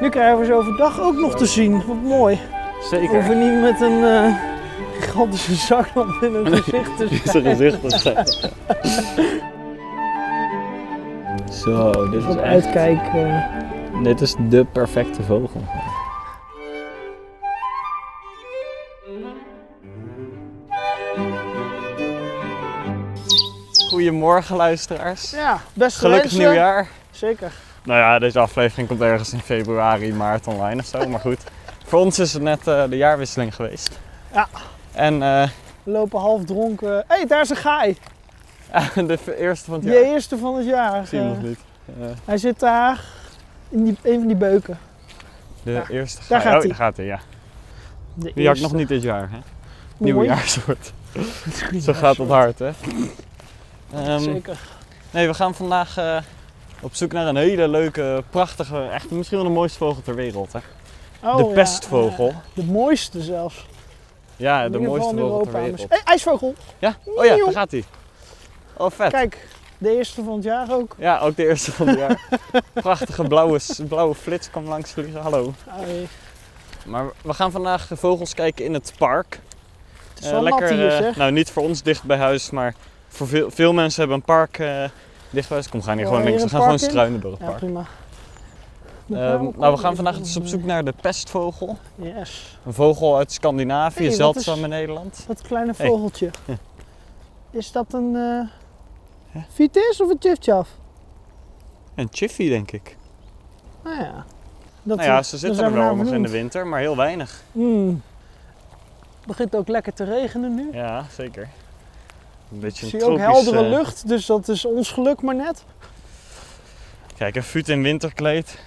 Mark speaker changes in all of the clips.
Speaker 1: Nu krijgen we ze overdag ook nog te zien. Wat mooi. We
Speaker 2: Zeker.
Speaker 1: hoeven niet met een eh, gigantische zaklamp in hun gezicht te
Speaker 2: Is er gezicht op zijn. Zo, dit is
Speaker 1: Op
Speaker 2: echt...
Speaker 1: uitkijk. eh,
Speaker 2: Dit is de perfecte vogel. Goedemorgen luisteraars.
Speaker 1: ja, beste
Speaker 2: Gelukkig
Speaker 1: wensen.
Speaker 2: nieuwjaar.
Speaker 1: Zeker.
Speaker 2: Nou ja, deze aflevering komt ergens in februari, maart online of zo. Maar goed, voor ons is het net eh, de jaarwisseling geweest.
Speaker 1: Ja.
Speaker 2: En eh,
Speaker 1: We lopen half dronken. Hé, hey, daar is een gaai.
Speaker 2: de v- eerste van het jaar.
Speaker 1: De eerste van het jaar.
Speaker 2: Zie hem nog
Speaker 1: Eh,
Speaker 2: niet. Eh,
Speaker 1: hij zit daar in die, een van die beuken.
Speaker 2: de
Speaker 1: Ja.
Speaker 2: eerste.
Speaker 1: Daar
Speaker 2: ga-
Speaker 1: gaat
Speaker 2: oh,
Speaker 1: hij.
Speaker 2: daar gaat hij, ja.
Speaker 1: De
Speaker 2: Die had ik
Speaker 1: eerste.
Speaker 2: nog niet dit jaar, hè?
Speaker 1: Mooi.
Speaker 2: Nieuwjaarssoort. Zo gaat het hard, hè? Ehm,
Speaker 1: Zeker.
Speaker 2: nee, we gaan vandaag eh, op zoek naar een hele leuke, prachtige, echt misschien wel de mooiste vogel ter wereld, hè?
Speaker 1: Oh,
Speaker 2: de
Speaker 1: ja,
Speaker 2: pestvogel.
Speaker 1: ja. de mooiste zelfs.
Speaker 2: Ja,
Speaker 1: In
Speaker 2: de
Speaker 1: ieder geval
Speaker 2: mooiste
Speaker 1: in
Speaker 2: vogel ter
Speaker 1: Europa
Speaker 2: wereld.
Speaker 1: misschien. Hé, ijsvogel.
Speaker 2: Ja? Oh ja,
Speaker 1: Nieuw.
Speaker 2: daar gaat hij. Oh, vet.
Speaker 1: Kijk, de eerste van het jaar ook.
Speaker 2: Ja, ook de eerste van het jaar. Prachtige blauwe, s- blauwe flits kwam langs vliegen. Hallo.
Speaker 1: Ai,
Speaker 2: Maar we gaan vandaag de vogels kijken in het park.
Speaker 1: het is
Speaker 2: Eh,
Speaker 1: wel nat hier
Speaker 2: eh,
Speaker 1: zeg.
Speaker 2: nou niet voor ons dicht bij huis, maar voor veel, veel mensen hebben een park eh, dicht bij huis. Kom, we gaan hier
Speaker 1: Oh,
Speaker 2: gewoon
Speaker 1: hier
Speaker 2: links. We
Speaker 1: een
Speaker 2: gaan gewoon
Speaker 1: park in?
Speaker 2: struinen door het
Speaker 1: Ja,
Speaker 2: park.
Speaker 1: prima. Dan
Speaker 2: Eh,
Speaker 1: ook
Speaker 2: nou, we
Speaker 1: even
Speaker 2: gaan vandaag dus op
Speaker 1: een,
Speaker 2: zoek naar de pestvogel.
Speaker 1: eh, Yes.
Speaker 2: Een vogel uit Scandinavië,
Speaker 1: Hey, wat
Speaker 2: zeldzaam
Speaker 1: is-
Speaker 2: in Nederland.
Speaker 1: Dat kleine
Speaker 2: Hey.
Speaker 1: vogeltje. Is dat een eh vitis of een tjiftjaf?
Speaker 2: Een chiffy, denk ik.
Speaker 1: Nou ja. Dat
Speaker 2: nou ja, ze
Speaker 1: daar
Speaker 2: zitten
Speaker 1: zijn
Speaker 2: er
Speaker 1: we
Speaker 2: wel
Speaker 1: naar
Speaker 2: nog in de
Speaker 1: benoemd.
Speaker 2: winter, maar heel weinig.
Speaker 1: Mm. Het begint ook lekker te regenen nu.
Speaker 2: Ja, zeker. Een beetje
Speaker 1: Ik
Speaker 2: een
Speaker 1: zie ook
Speaker 2: tropisch,
Speaker 1: heldere
Speaker 2: eh,
Speaker 1: lucht, dus dat is ons geluk maar net.
Speaker 2: Kijk, een fut in winterkleed.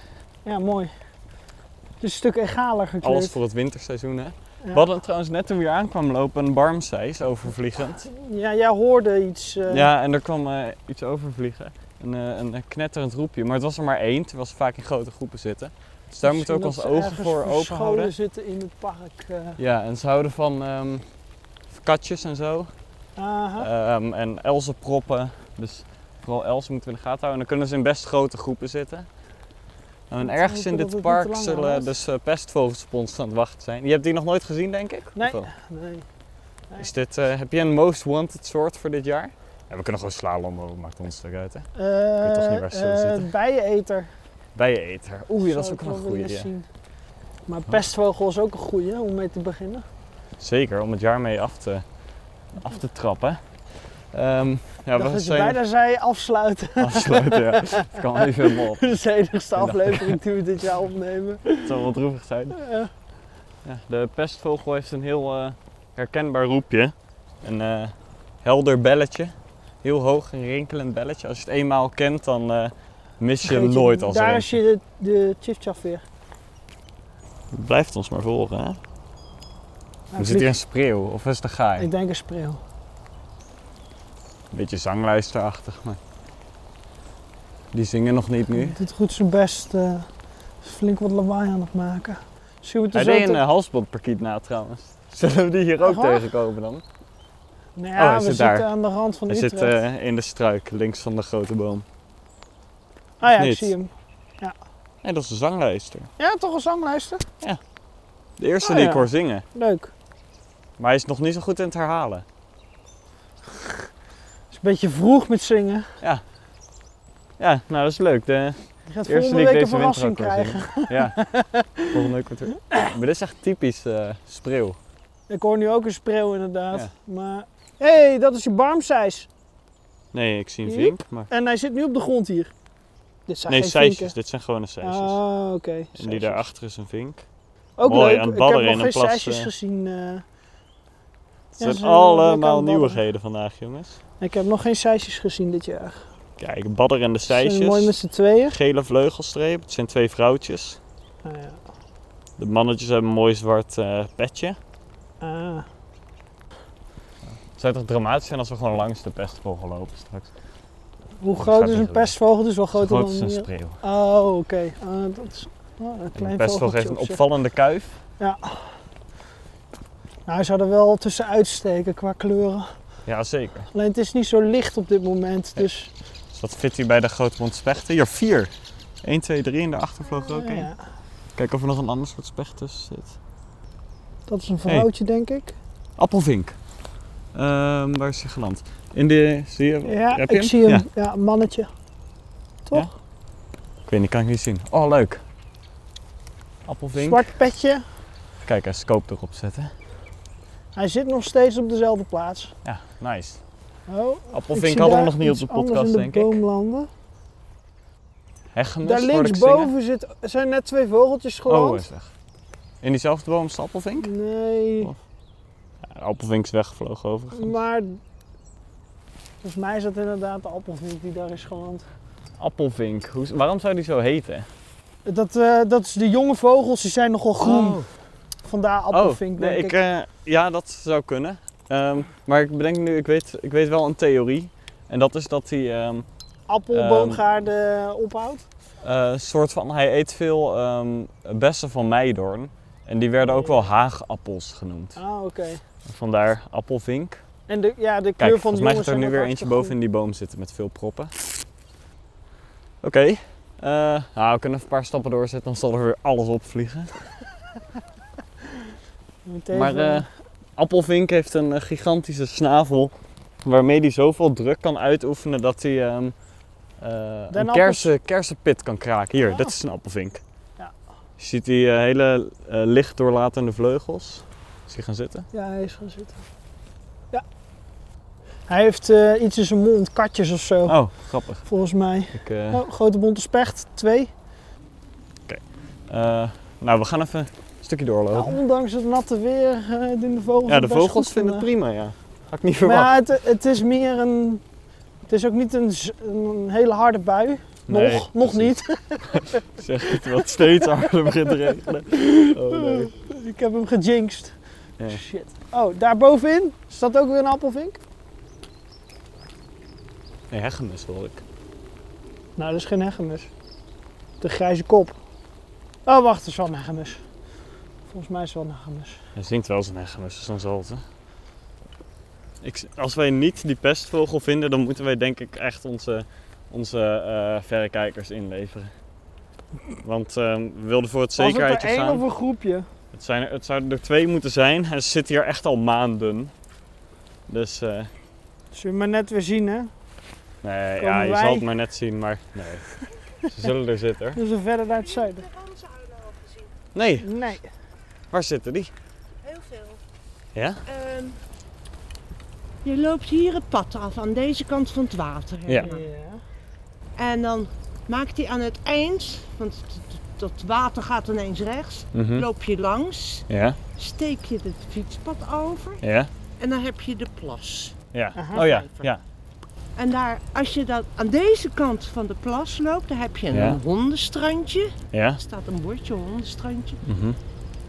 Speaker 1: Ja, mooi. Het is een stuk egaler gekleed.
Speaker 2: Alles voor het winterseizoen, hè?
Speaker 1: Ja.
Speaker 2: We hadden trouwens net toen we hier aankwam lopen een barmseis overvliegend.
Speaker 1: Ja, jij hoorde iets. eh,
Speaker 2: Ja, en er kwam eh, iets overvliegen. Een, eh, een knetterend roepje. Maar het was er maar één, terwijl ze vaak in grote groepen zitten. Dus daar moeten we ook
Speaker 1: misschien
Speaker 2: onze
Speaker 1: dat ze
Speaker 2: ogen
Speaker 1: ergens
Speaker 2: voor open
Speaker 1: verscholen
Speaker 2: houden.
Speaker 1: zitten in het park. eh.
Speaker 2: Ja, en ze houden van ehm, katjes en zo.
Speaker 1: Aha.
Speaker 2: Ehm, en elzen proppen. Dus vooral elzen moeten we in de gaten houden. En dan kunnen ze in best grote groepen zitten. Nou,
Speaker 1: Moeten
Speaker 2: en
Speaker 1: we
Speaker 2: ergens
Speaker 1: hopen
Speaker 2: in
Speaker 1: dat
Speaker 2: dit
Speaker 1: het niet te
Speaker 2: park
Speaker 1: lang
Speaker 2: zullen
Speaker 1: aanhoudt.
Speaker 2: dus eh, pestvogels op ons aan het wachten zijn. Je hebt die nog nooit gezien, denk ik? Of
Speaker 1: Nee.
Speaker 2: wel?
Speaker 1: Nee.
Speaker 2: Is dit, eh, heb jij een most wanted soort voor dit jaar? Ja, we kunnen gewoon slalommen, maakt ons stuk uit hè.
Speaker 1: Eh,
Speaker 2: toch niet waar ze zullen
Speaker 1: eh,
Speaker 2: zitten.
Speaker 1: bijeneter.
Speaker 2: Bijeneter. Oeh, ja, dat is
Speaker 1: zou
Speaker 2: ook
Speaker 1: ik
Speaker 2: wel een
Speaker 1: wel
Speaker 2: goede.
Speaker 1: willen zien. Maar pestvogel is ook een goede om mee te beginnen.
Speaker 2: Zeker, om het jaar mee af te, af te trappen. Ehm ja,
Speaker 1: Ik dacht
Speaker 2: we
Speaker 1: dat je
Speaker 2: zijn
Speaker 1: bijna zei afsluiten.
Speaker 2: afsluiten. ja. Het kan even helemaal op.
Speaker 1: Dat is de enigste
Speaker 2: Ik dacht-
Speaker 1: aflevering die we dit jaar opnemen.
Speaker 2: Het zou wel droevig zijn.
Speaker 1: Eh,
Speaker 2: Ja, de pestvogel heeft een heel eh, herkenbaar roepje. Een eh, helder belletje. Heel hoog, een rinkelend belletje. Als je het eenmaal kent, dan eh, mis je hem
Speaker 1: vergeet
Speaker 2: nooit als
Speaker 1: Daar
Speaker 2: er
Speaker 1: is je de, de chifchaf weer.
Speaker 2: Blijft ons maar volgen, hè?
Speaker 1: Hij
Speaker 2: Er zit hier een
Speaker 1: vliegt.
Speaker 2: spreeuw, of is het een gaai?
Speaker 1: Nou, Ik denk een spreeuw.
Speaker 2: Een beetje zangluisterachtig, maar die zingen nog niet nu.
Speaker 1: Hij doet goed zijn best. eh, is flink wat lawaai aan het maken. Zullen we
Speaker 2: Hij
Speaker 1: het er zo
Speaker 2: deed
Speaker 1: te-
Speaker 2: een eh, halsbandparkiet na trouwens. Zullen we die hier ook
Speaker 1: Echt waar?
Speaker 2: tegenkomen dan?
Speaker 1: Nou
Speaker 2: Oh,
Speaker 1: ja,
Speaker 2: hij
Speaker 1: we
Speaker 2: zit
Speaker 1: zitten
Speaker 2: daar.
Speaker 1: aan de rand van
Speaker 2: Hij
Speaker 1: Utrecht.
Speaker 2: zit eh, in de struik, links van de grote boom.
Speaker 1: ah ja, ik
Speaker 2: eh, niet.
Speaker 1: zie hem.
Speaker 2: Nee, dat is een zangluister.
Speaker 1: Ja, toch een zangluister.
Speaker 2: De eerste
Speaker 1: Oh,
Speaker 2: die
Speaker 1: ja.
Speaker 2: ik hoor zingen.
Speaker 1: Leuk.
Speaker 2: Maar hij is nog niet zo goed in het herhalen.
Speaker 1: is een beetje vroeg met zingen.
Speaker 2: Ja, nou dat is leuk. De
Speaker 1: Je gaat
Speaker 2: eerste
Speaker 1: volgende
Speaker 2: die ik
Speaker 1: week een
Speaker 2: deze winter
Speaker 1: verrassing
Speaker 2: ook hoor
Speaker 1: krijgen.
Speaker 2: zingen. Ja, volgende week wordt weer- Maar dit is echt typisch eh, spreeuw.
Speaker 1: Ik hoor nu ook een spreeuw inderdaad.
Speaker 2: Ja.
Speaker 1: Maar hé, hey, dat is je barmseis.
Speaker 2: Nee, ik zie een
Speaker 1: Hier?
Speaker 2: vink, maar...
Speaker 1: En hij zit nu op de grond hier. Dit zijn
Speaker 2: Nee,
Speaker 1: geen
Speaker 2: sijsjes.
Speaker 1: vinken.
Speaker 2: Dit zijn gewone sijsjes.
Speaker 1: Ah, oké.
Speaker 2: en die
Speaker 1: Sijsjes.
Speaker 2: daarachter is een vink.
Speaker 1: Ook
Speaker 2: Mooi,
Speaker 1: leuk.
Speaker 2: een
Speaker 1: Ik heb
Speaker 2: badder
Speaker 1: nog
Speaker 2: in
Speaker 1: geen
Speaker 2: een plas,
Speaker 1: sijsjes
Speaker 2: eh.
Speaker 1: gezien. eh.
Speaker 2: Het
Speaker 1: Ja,
Speaker 2: zijn
Speaker 1: ze zijn wel lekker aan
Speaker 2: allemaal
Speaker 1: het
Speaker 2: nieuwigheden vandaag, jongens.
Speaker 1: Ik heb nog geen sijsjes gezien dit jaar. Ze
Speaker 2: Kijk, badder en de
Speaker 1: zijn Mooi met
Speaker 2: sijsjes.
Speaker 1: z'n tweeën.
Speaker 2: Gele vleugelstreep. Het zijn twee vrouwtjes.
Speaker 1: Ah, ja.
Speaker 2: De mannetjes hebben een mooi zwart eh, petje.
Speaker 1: Ah.
Speaker 2: Het zou toch dramatisch zijn als we gewoon langs de pestvogel lopen straks?
Speaker 1: Hoe
Speaker 2: Dat
Speaker 1: groot
Speaker 2: gaat
Speaker 1: is
Speaker 2: niet
Speaker 1: een
Speaker 2: gebeuren.
Speaker 1: pestvogel? Dus wel groter
Speaker 2: Groot
Speaker 1: dan
Speaker 2: is een
Speaker 1: hier.
Speaker 2: spreeuw.
Speaker 1: Oh, oké. Ah, dat is ah, een
Speaker 2: En
Speaker 1: klein
Speaker 2: de pestvogel heeft een
Speaker 1: vogeltje op zich.
Speaker 2: opvallende kuif.
Speaker 1: Nou, hij zou er wel tussenuit steken qua kleuren.
Speaker 2: Ja, zeker.
Speaker 1: Alleen het is niet zo licht op dit moment.
Speaker 2: Nee.
Speaker 1: Dus
Speaker 2: Het is Dus dat fit hij bij de grootmond spechten. Hier, vier. 1, 2, 3 en daarachter vloog er ook
Speaker 1: Ja,
Speaker 2: één.
Speaker 1: Oh ja.
Speaker 2: Kijk of er nog een ander soort specht tussen zit.
Speaker 1: Dat is een vrouwtje, denk ik.
Speaker 2: Appelvink. Ehm, waar is hij geland? In de... Zie je?
Speaker 1: Ja,
Speaker 2: heb
Speaker 1: ik
Speaker 2: je hem?
Speaker 1: zie hem.
Speaker 2: Ja.
Speaker 1: Ja. een mannetje. Toch?
Speaker 2: Ik weet niet, kan ik niet zien. Oh, leuk. Appelvink.
Speaker 1: Zwart petje.
Speaker 2: Kijk, hij scope erop zetten.
Speaker 1: Hij zit nog steeds op dezelfde plaats.
Speaker 2: Ja, nice.
Speaker 1: Oh, ik
Speaker 2: Appelvink
Speaker 1: zie
Speaker 2: hadden we
Speaker 1: daar
Speaker 2: nog niet op
Speaker 1: iets
Speaker 2: de
Speaker 1: anders
Speaker 2: podcast,
Speaker 1: in
Speaker 2: denk
Speaker 1: de
Speaker 2: ik.
Speaker 1: boomlanden.
Speaker 2: Hegemus,
Speaker 1: Daar
Speaker 2: hoorde ik zingen.
Speaker 1: linksboven zit, er zijn net twee vogeltjes
Speaker 2: Oh, hij
Speaker 1: geland.
Speaker 2: is weg. In diezelfde boom als de appelvink?
Speaker 1: nee,
Speaker 2: Oh. Ja, de appelvink is weggevlogen overigens.
Speaker 1: maar volgens mij is dat inderdaad de appelvink die daar is geland.
Speaker 2: Appelvink, hoe, waarom zou die zo heten?
Speaker 1: Dat, eh, dat is de jonge vogels, die zijn nogal groen.
Speaker 2: Oh.
Speaker 1: Vandaar appelvink,
Speaker 2: oh, nee,
Speaker 1: denk
Speaker 2: ik,
Speaker 1: ik.
Speaker 2: eh, ja, dat zou kunnen. Ehm, maar ik bedenk nu, ik weet, ik weet wel een theorie. En dat is dat hij ehm,
Speaker 1: Appelboomgaarden ophoudt.
Speaker 2: eh, soort van, hij eet veel ehm, bessen van meidoorn. En die werden ook wel haagappels genoemd.
Speaker 1: Ah, oké.
Speaker 2: Vandaar appelvink.
Speaker 1: En de, ja, de kleur
Speaker 2: Kijk,
Speaker 1: van
Speaker 2: volgens
Speaker 1: de
Speaker 2: mij
Speaker 1: jongens
Speaker 2: zit er
Speaker 1: zijn
Speaker 2: nu
Speaker 1: ook
Speaker 2: weer
Speaker 1: hartstikke
Speaker 2: eentje boven in die boom zitten met veel proppen. Oké, eh, nou, we kunnen een paar stappen doorzetten, dan zal er weer alles opvliegen.
Speaker 1: groen. Meteen
Speaker 2: Maar
Speaker 1: van-
Speaker 2: eh, Appelvink heeft een eh, gigantische snavel waarmee hij zoveel druk kan uitoefenen dat hij ehm, eh, een
Speaker 1: appels.
Speaker 2: kersen, kersenpit kan kraken. Hier,
Speaker 1: Ah.
Speaker 2: dit is een Appelvink.
Speaker 1: Ja.
Speaker 2: Je ziet die eh, hele eh, licht doorlatende vleugels. Is hij gaan zitten?
Speaker 1: Ja, hij is gaan zitten. Ja. Hij heeft eh, iets in zijn mond, katjes of zo,
Speaker 2: Oh, grappig.
Speaker 1: volgens mij.
Speaker 2: Ik, eh,
Speaker 1: Oh, grote bonte specht, twee.
Speaker 2: Oh. eh, nou, we gaan even een stukje
Speaker 1: Nou,
Speaker 2: doorlopen.
Speaker 1: ondanks het natte weer eh, doen de vogels
Speaker 2: Ja, de
Speaker 1: best
Speaker 2: vogels
Speaker 1: goed
Speaker 2: vinden het
Speaker 1: vandaag.
Speaker 2: prima, ja. Had ik niet
Speaker 1: Maar
Speaker 2: verwacht.
Speaker 1: ja, het, het is meer een... Het is ook niet een, z- een hele harde bui. Nog,
Speaker 2: Nee,
Speaker 1: nog
Speaker 2: precies.
Speaker 1: niet.
Speaker 2: Zeg niet, wat steeds harder begint te regenen. Oh nee.
Speaker 1: Ik heb hem gejinxed.
Speaker 2: Ja.
Speaker 1: Shit. Oh, daar bovenin staat ook weer een appelvink.
Speaker 2: Nee, hegemus hoor ik.
Speaker 1: Nou, dat is geen hegemus. De grijze kop. Oh, wacht, het is wel een hegemus. Volgens mij is het wel een hegemus.
Speaker 2: Hij zingt wel zijn hegemus, dus dan zal het. hè. Ik, als wij niet die pestvogel vinden, dan moeten wij denk ik echt onze, onze eh, verrekijkers inleveren. Want ehm, we wilden voor het
Speaker 1: Was
Speaker 2: zekerheidje
Speaker 1: het er één
Speaker 2: gaan.
Speaker 1: of een groepje?
Speaker 2: Het, zijn er, het zouden er twee moeten zijn. Hij zit hier echt al maanden. Dus eh,
Speaker 1: Zullen we maar net weer zien, hè?
Speaker 2: nee,
Speaker 1: Komen
Speaker 2: ja, je
Speaker 1: wij?
Speaker 2: zal het maar net zien, maar nee. Ze zullen er zitten.
Speaker 1: Dus we verder naar het zuiden.
Speaker 3: Ik heb onze uilen al gezien.
Speaker 2: Nee,
Speaker 1: Nee.
Speaker 2: waar zitten die?
Speaker 3: Heel veel.
Speaker 2: Ja?
Speaker 3: Ehm, je loopt hier het pad af, aan deze kant van het water. hè.
Speaker 2: Ja.
Speaker 3: En dan maakt hij aan het eind, want t- t- dat water gaat ineens rechts,
Speaker 2: Hm.
Speaker 3: loop je langs,
Speaker 2: Mhm. Ja,
Speaker 3: steek je het fietspad over
Speaker 2: ja,
Speaker 3: en dan heb je de plas.
Speaker 2: ja.
Speaker 1: Aha.
Speaker 2: oh ja,
Speaker 3: Vijver.
Speaker 2: ja.
Speaker 3: En daar, als je dan aan deze kant van de plas loopt, dan heb je een
Speaker 2: Ja.
Speaker 3: hondenstrandje.
Speaker 2: Ja.
Speaker 3: Er staat een bordje, hondenstrandje.
Speaker 2: Mhm.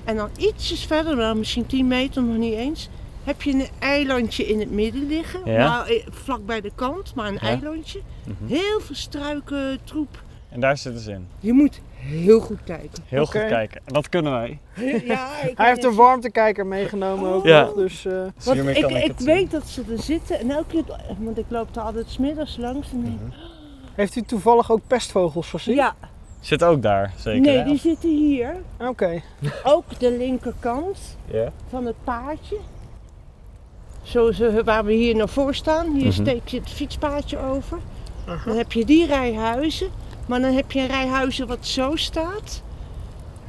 Speaker 3: En dan ietsjes verder, wel misschien 10 meter, nog niet eens, heb je een eilandje in het midden liggen.
Speaker 2: Ja.
Speaker 3: Nou, eh, vlak bij de kant, maar een eilandje.
Speaker 2: Mhm.
Speaker 3: Heel veel struiken, troep.
Speaker 2: En daar zitten ze in.
Speaker 3: Je moet heel goed kijken.
Speaker 2: Heel
Speaker 1: Oké.
Speaker 2: goed kijken. En dat kunnen wij.
Speaker 3: Ja, ik
Speaker 1: Hij heeft een warmtekijker meegenomen ook
Speaker 2: Ja.
Speaker 1: nog, dus... eh,
Speaker 2: Dus
Speaker 3: Want
Speaker 2: hiermee
Speaker 3: ik,
Speaker 2: kan
Speaker 3: ik,
Speaker 2: het zien.
Speaker 3: weet dat ze er zitten en elke keer, want ik loop er altijd smiddags langs. En
Speaker 2: Mhm.
Speaker 3: denk,
Speaker 1: heeft u toevallig ook pestvogels gezien?
Speaker 3: ja,
Speaker 2: Zit ook daar, zeker.
Speaker 3: nee,
Speaker 2: hè?
Speaker 3: die zitten hier.
Speaker 1: Oké.
Speaker 3: Ook de linkerkant
Speaker 2: Ja.
Speaker 3: van het paadje. Zo ze- waar we hier naar voor staan. Hier
Speaker 2: Mhm.
Speaker 3: steek je het fietspaadje over. Dan heb je die rij huizen. Maar dan heb je een rij huizen wat zo staat.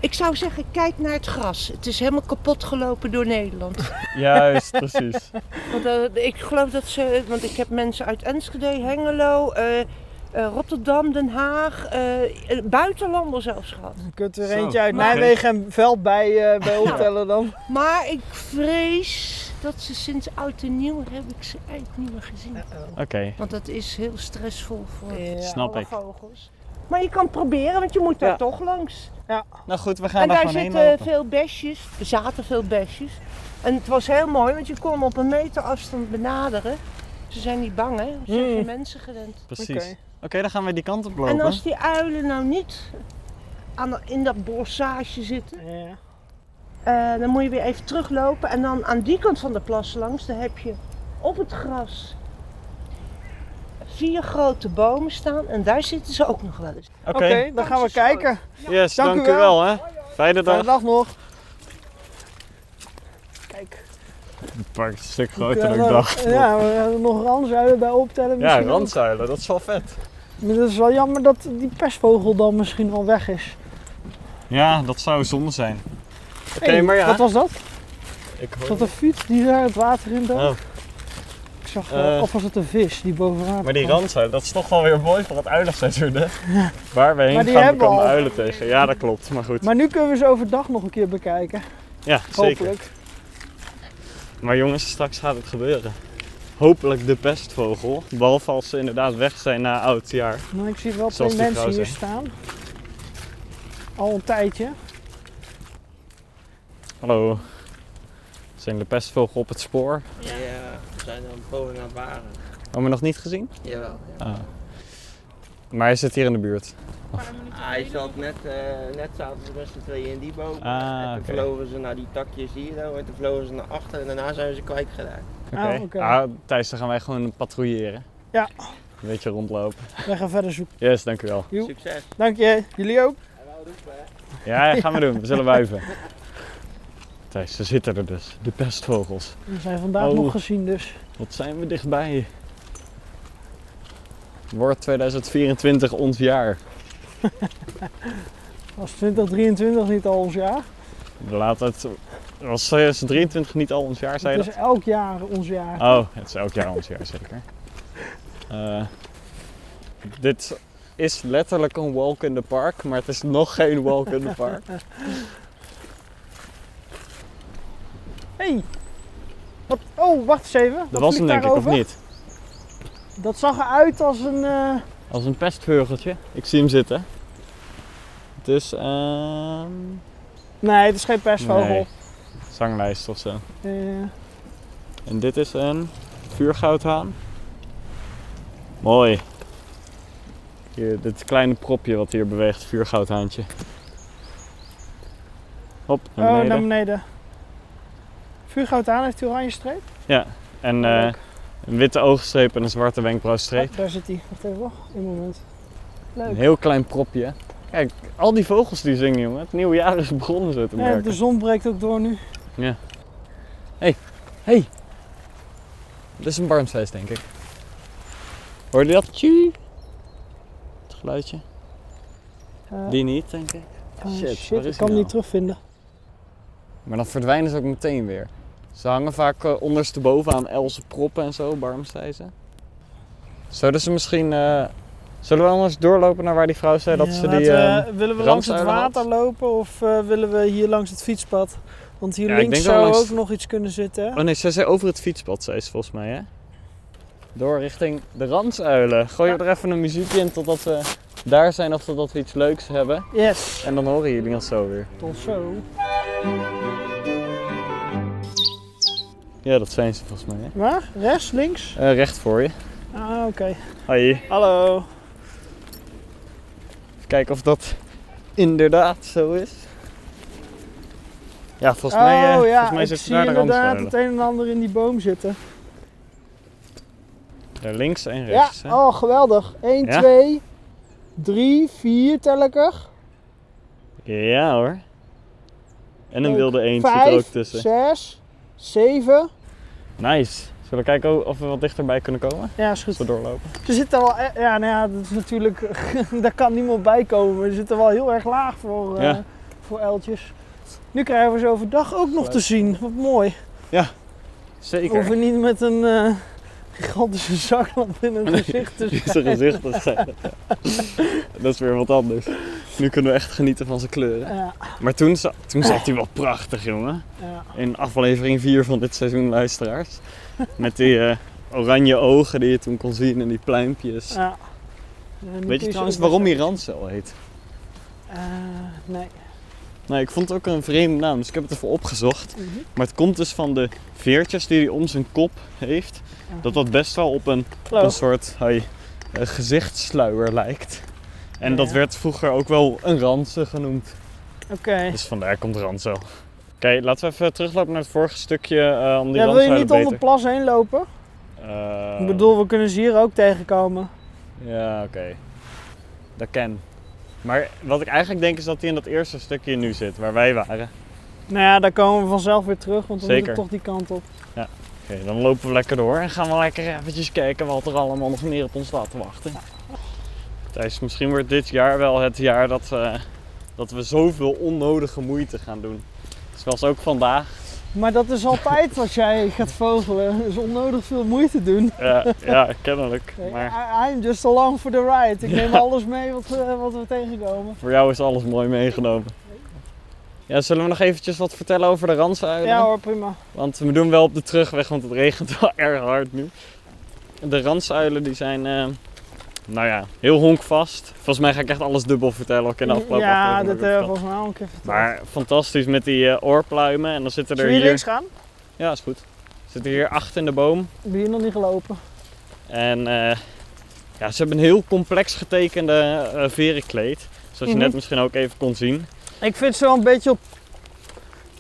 Speaker 3: Ik zou zeggen, kijk naar het gras. Het is helemaal kapot gelopen door Nederland.
Speaker 2: Juist, precies.
Speaker 3: Want, eh, ik geloof dat ze... Want ik heb mensen uit Enschede, Hengelo, eh, eh, Rotterdam, Den Haag... eh, eh, buitenlanders zelfs gehad.
Speaker 1: Dan kunt u er
Speaker 2: Zo.
Speaker 1: eentje uit
Speaker 2: Oké.
Speaker 1: Nijmegen en Veld bij, eh, bij optellen dan.
Speaker 3: Maar ik vrees dat ze sinds oud en nieuw... heb ik ze eigenlijk niet meer gezien.
Speaker 2: Oké.
Speaker 3: Want dat is heel stressvol voor
Speaker 2: Snap.
Speaker 3: alle
Speaker 2: ik.
Speaker 3: vogels. Maar je kan het proberen, want je moet daar
Speaker 1: Ja.
Speaker 3: toch langs.
Speaker 2: Nou goed, we gaan
Speaker 3: en
Speaker 2: daar
Speaker 3: daar
Speaker 2: gewoon heen
Speaker 3: zitten
Speaker 2: lopen.
Speaker 3: veel besjes. Er zaten veel besjes. En het was heel mooi, want je kon hem op een meter afstand benaderen. Ze zijn niet bang, hè? Ze zijn
Speaker 1: Mm.
Speaker 3: geen mensen gewend.
Speaker 2: Precies. Oké,
Speaker 1: Oké.
Speaker 2: dan gaan we die kant op
Speaker 3: En
Speaker 2: Hmm. lopen.
Speaker 3: als die uilen nou niet aan, in dat bossage zitten,
Speaker 1: Ja.
Speaker 3: eh, dan moet je weer even teruglopen. En dan aan die kant van de plas langs, dan heb je op het gras vier grote bomen staan en daar zitten ze ook nog wel eens.
Speaker 2: Oké,
Speaker 1: dan gaan we kijken.
Speaker 2: yes,
Speaker 1: Dank
Speaker 2: dank,
Speaker 1: u
Speaker 2: u wel. Hè. Fijne
Speaker 1: Fijne
Speaker 2: dag.
Speaker 1: dag nog. Kijk.
Speaker 2: Het park is een stuk
Speaker 1: we
Speaker 2: groter dan ik
Speaker 1: kunnen
Speaker 2: dacht.
Speaker 1: nog- Eh, Ja, we hebben nog randzuilen bij optellen.
Speaker 2: Ja,
Speaker 1: misschien ook.
Speaker 2: randzuilen, dat is wel vet.
Speaker 1: Maar dat is wel jammer dat die pestvogel dan misschien wel weg is.
Speaker 2: Ja, dat zou zonde zijn. Oké,
Speaker 1: Hey,
Speaker 2: maar ja.
Speaker 1: Wat was dat?
Speaker 2: Ik
Speaker 1: Was
Speaker 2: hoor
Speaker 1: dat een fiets die daar het water in dacht?
Speaker 2: Oh,
Speaker 1: Ik zag, eh,
Speaker 2: eh.
Speaker 1: of was het een vis die boven water
Speaker 2: maar die
Speaker 1: kwam?
Speaker 2: randzuilen, dat is toch wel weer mooi voor het uilensseizoen, hè? Waar we heen
Speaker 1: Maar die
Speaker 2: gaan, we
Speaker 1: hebben we
Speaker 2: komen
Speaker 1: al.
Speaker 2: uilen tegen. Ja, dat klopt, maar goed.
Speaker 1: Maar nu kunnen we ze overdag nog een keer bekijken.
Speaker 2: ja, zeker.
Speaker 1: Hopelijk.
Speaker 2: Maar jongens, straks gaat het gebeuren. Hopelijk de pestvogel. Behalve als ze inderdaad weg zijn na oud jaar.
Speaker 1: Maar Nou, ik zie wel twee
Speaker 2: Zoals die
Speaker 1: mensen
Speaker 2: vrouw
Speaker 1: hier
Speaker 2: zei.
Speaker 1: staan. Al een tijdje.
Speaker 2: Hallo. Oh. Zijn de pestvogel op het spoor?
Speaker 4: Ja, we zijn er een poging aan het waren.
Speaker 2: Hebben we nog niet gezien?
Speaker 4: Jawel. ja.
Speaker 2: Maar hij zit hier in de buurt.
Speaker 4: Ah, Hij zat net, eh, net zaten ze met z'n tweeën in die boom.
Speaker 2: Ah,
Speaker 4: en toen
Speaker 2: oké.
Speaker 4: vlogen ze naar die takjes hier zo, en toen vlogen ze naar achter en daarna zijn we ze kwijtgeraakt.
Speaker 2: Oké.
Speaker 1: Ah, oké.
Speaker 2: Ah, Thijs, dan gaan wij gewoon patrouilleren.
Speaker 1: Ja.
Speaker 2: Een beetje rondlopen.
Speaker 1: Wij gaan verder zoeken.
Speaker 2: Yes, dank u wel.
Speaker 1: Joep.
Speaker 4: Succes!
Speaker 1: Dank je. Jullie ook?
Speaker 2: Ja, gaan we doen. We zullen wuiven. Thijs, ze zitten er dus. De pestvogels.
Speaker 1: We zijn vandaag
Speaker 2: Oh.
Speaker 1: nog gezien dus.
Speaker 2: Wat zijn we dichtbij. Wordt 2024 ons jaar.
Speaker 1: Was 2023 niet al ons jaar?
Speaker 2: Laat het... Was 2023 niet al ons jaar, zei je
Speaker 1: Het
Speaker 2: dat?
Speaker 1: is elk jaar ons jaar.
Speaker 2: Oh, het is elk jaar ons jaar zeker. Eh, dit is letterlijk een walk in the park, maar het is nog geen walk in the park.
Speaker 1: Hey. Wat? Oh, wacht eens even.
Speaker 2: Dat
Speaker 1: Wat
Speaker 2: was hem
Speaker 1: vliegt
Speaker 2: denk ik, of
Speaker 1: daarover?
Speaker 2: niet?
Speaker 1: Dat zag eruit als een... eh,
Speaker 2: Als een pestveugeltje. Ik zie hem zitten. Het is ehm
Speaker 1: Nee, het is geen pestvogel.
Speaker 2: zanglijst of zo.
Speaker 1: Eh,
Speaker 2: En dit is een vuurgoudhaan. Mooi. Hier, dit kleine propje wat hier beweegt, vuurgoudhaantje. Hop, naar
Speaker 1: oh,
Speaker 2: beneden.
Speaker 1: naar beneden. Vuurgoud aan heeft die oranje streep.
Speaker 2: En
Speaker 1: Oh,
Speaker 2: eh,
Speaker 1: leuk.
Speaker 2: een witte oogstreep en een zwarte wenkbrauwstreep.
Speaker 1: Ah, daar zit hij. Wacht even, wacht. Een moment.
Speaker 2: Een
Speaker 1: Leuk.
Speaker 2: heel klein propje. Kijk, al die vogels die zingen, jongen. Het nieuwe jaar is begonnen, zo te
Speaker 1: Ja, dus-
Speaker 2: merken.
Speaker 1: Eh, de zon breekt ook door nu.
Speaker 2: Dit is een barmfeest, denk ik. Hoorde je dat? Tjie. Het geluidje.
Speaker 1: Eh,
Speaker 2: Die niet, denk ik.
Speaker 1: eh,
Speaker 2: shit,
Speaker 1: shit, ik
Speaker 2: waar is hij
Speaker 1: kan hem
Speaker 2: nou?
Speaker 1: niet terugvinden.
Speaker 2: Maar dan verdwijnen ze ook meteen weer. Ze hangen vaak eh, ondersteboven aan Else proppen en zo, barmstijzen. Zouden ze misschien... eh, Zullen we anders doorlopen naar waar die vrouw zei dat
Speaker 1: Ja,
Speaker 2: ze
Speaker 1: laten
Speaker 2: die...
Speaker 1: we-
Speaker 2: eh,
Speaker 1: willen we langs het
Speaker 2: randzuilen had?
Speaker 1: water lopen of eh, willen we hier langs het fietspad? Want hier
Speaker 2: Ja, ik
Speaker 1: links
Speaker 2: denk dat we
Speaker 1: zou
Speaker 2: langs-
Speaker 1: ook nog iets kunnen zitten. hè?
Speaker 2: Oh nee, zij zei over het fietspad, zei ze volgens mij, hè? Door richting de Ransuilen. Gooi er even een muziekje in totdat we daar zijn of totdat we iets leuks hebben.
Speaker 1: Yes.
Speaker 2: En dan horen jullie ons zo weer.
Speaker 1: Tot zo.
Speaker 2: Ja, dat zijn ze volgens mij, hè?
Speaker 1: Waar? Rechts, links?
Speaker 2: Eh, recht voor je.
Speaker 1: Ah, oké. Oh,
Speaker 2: Hoi.
Speaker 1: Hallo.
Speaker 2: Even kijken of dat inderdaad zo is. Ja, volgens mij, eh,
Speaker 1: oh ja,
Speaker 2: volgens mij
Speaker 1: ik
Speaker 2: zitten
Speaker 1: zie
Speaker 2: daar de
Speaker 1: inderdaad
Speaker 2: Ransuilen.
Speaker 1: het een en ander in die boom zitten.
Speaker 2: Daar links en rechts,
Speaker 1: ja,
Speaker 2: hè?
Speaker 1: oh geweldig. 1,
Speaker 2: Ja?
Speaker 1: 2, 3, 4 tel ik er.
Speaker 2: Ja hoor. En een
Speaker 1: Leuk.
Speaker 2: wilde eend zit er ook
Speaker 1: 5,
Speaker 2: tussen.
Speaker 1: 6, 7.
Speaker 2: Nice. Zullen we kijken of we wat dichterbij kunnen komen?
Speaker 1: Ja, is goed.
Speaker 2: Als we doorlopen.
Speaker 1: Ze zitten wel, e- ja, nou ja, dat is natuurlijk, daar kan niemand bij komen. maar Ze zitten wel heel erg laag voor, eh,
Speaker 2: Ja.
Speaker 1: voor uiltjes. Nu krijgen we ze overdag ook nog te zien. Wat mooi.
Speaker 2: Zeker.
Speaker 1: We hoeven niet met een eh, gigantische zaklamp in het gezicht te
Speaker 2: Die zijn gezicht te zijn. Dat is weer wat anders. Nu kunnen we echt genieten van zijn kleuren.
Speaker 1: Ja,
Speaker 2: Maar toen, za- toen zat hij wel prachtig, jongen.
Speaker 1: ja.
Speaker 2: In aflevering 4 van dit seizoen, luisteraars. Met die eh, oranje ogen die je toen kon zien en die pluimpjes.
Speaker 1: ja. Ja, nu kun
Speaker 2: Weet
Speaker 1: ze
Speaker 2: je trouwens
Speaker 1: ook
Speaker 2: waarom
Speaker 1: best-
Speaker 2: hij Ransel heet?
Speaker 1: Eh, nee.
Speaker 2: Nou, ik vond het ook een vreemde naam, dus ik heb het even opgezocht.
Speaker 1: Mhm.
Speaker 2: Maar het komt dus van de veertjes die hij om zijn kop heeft. Dat dat best wel op een
Speaker 1: Hallo.
Speaker 2: een soort hey, eh, gezichtssluier lijkt. En
Speaker 1: Ja,
Speaker 2: dat
Speaker 1: ja.
Speaker 2: werd vroeger ook wel een ransen genoemd.
Speaker 1: Oké.
Speaker 2: Dus vandaar komt ransel. Oké, laten we even teruglopen naar het vorige stukje eh, om die
Speaker 1: Ja, wil je
Speaker 2: randzuilen
Speaker 1: niet
Speaker 2: beter...
Speaker 1: onder plas heen lopen?
Speaker 2: Eh,
Speaker 1: Ik bedoel, we kunnen ze hier ook tegenkomen.
Speaker 2: Ja, oké. Dat kan. Maar wat ik eigenlijk denk is dat hij in dat eerste stukje nu zit, waar wij waren.
Speaker 1: Nou ja, daar komen we vanzelf weer terug, want we
Speaker 2: Zeker.
Speaker 1: moeten toch die kant op.
Speaker 2: Oké, dan lopen we lekker door en gaan we lekker eventjes kijken wat er allemaal nog meer op ons staat te wachten. Thijs, misschien wordt dit jaar wel het jaar dat, eh, dat we zoveel onnodige moeite gaan doen. Zoals ook vandaag.
Speaker 1: Maar dat is altijd als jij gaat vogelen. is onnodig veel moeite doen.
Speaker 2: Eh, ja, kennelijk. Maar
Speaker 1: I- I'm just along for the ride. Ik neem
Speaker 2: Ja.
Speaker 1: alles mee wat, eh, wat we tegenkomen.
Speaker 2: voor jou is alles mooi meegenomen. Ja, zullen we nog eventjes wat vertellen over de Randzuilen?
Speaker 1: Ja hoor, prima.
Speaker 2: Want we doen wel op de terugweg, want het regent wel erg hard nu. De randzuilen die zijn, eh, nou ja, heel honkvast. Volgens mij ga ik echt alles dubbel vertellen ook in de afgelopen
Speaker 1: ja,
Speaker 2: aflevering
Speaker 1: dat eh,
Speaker 2: heb ik
Speaker 1: hebben we volgens
Speaker 2: verteld.
Speaker 1: mij al een keer verteld.
Speaker 2: Maar fantastisch met die eh, oorpluimen. En dan zitten
Speaker 1: Zullen
Speaker 2: er
Speaker 1: we hier links
Speaker 2: hier...
Speaker 1: gaan?
Speaker 2: Ja, is goed. Er zitten hier acht in de boom.
Speaker 1: Ik ben hier nog niet gelopen.
Speaker 2: En eh, ja, ze hebben een heel complex getekende eh, verenkleed. Zoals je
Speaker 1: Mhm.
Speaker 2: net misschien ook even kon zien.
Speaker 1: Ik vind ze wel een beetje op,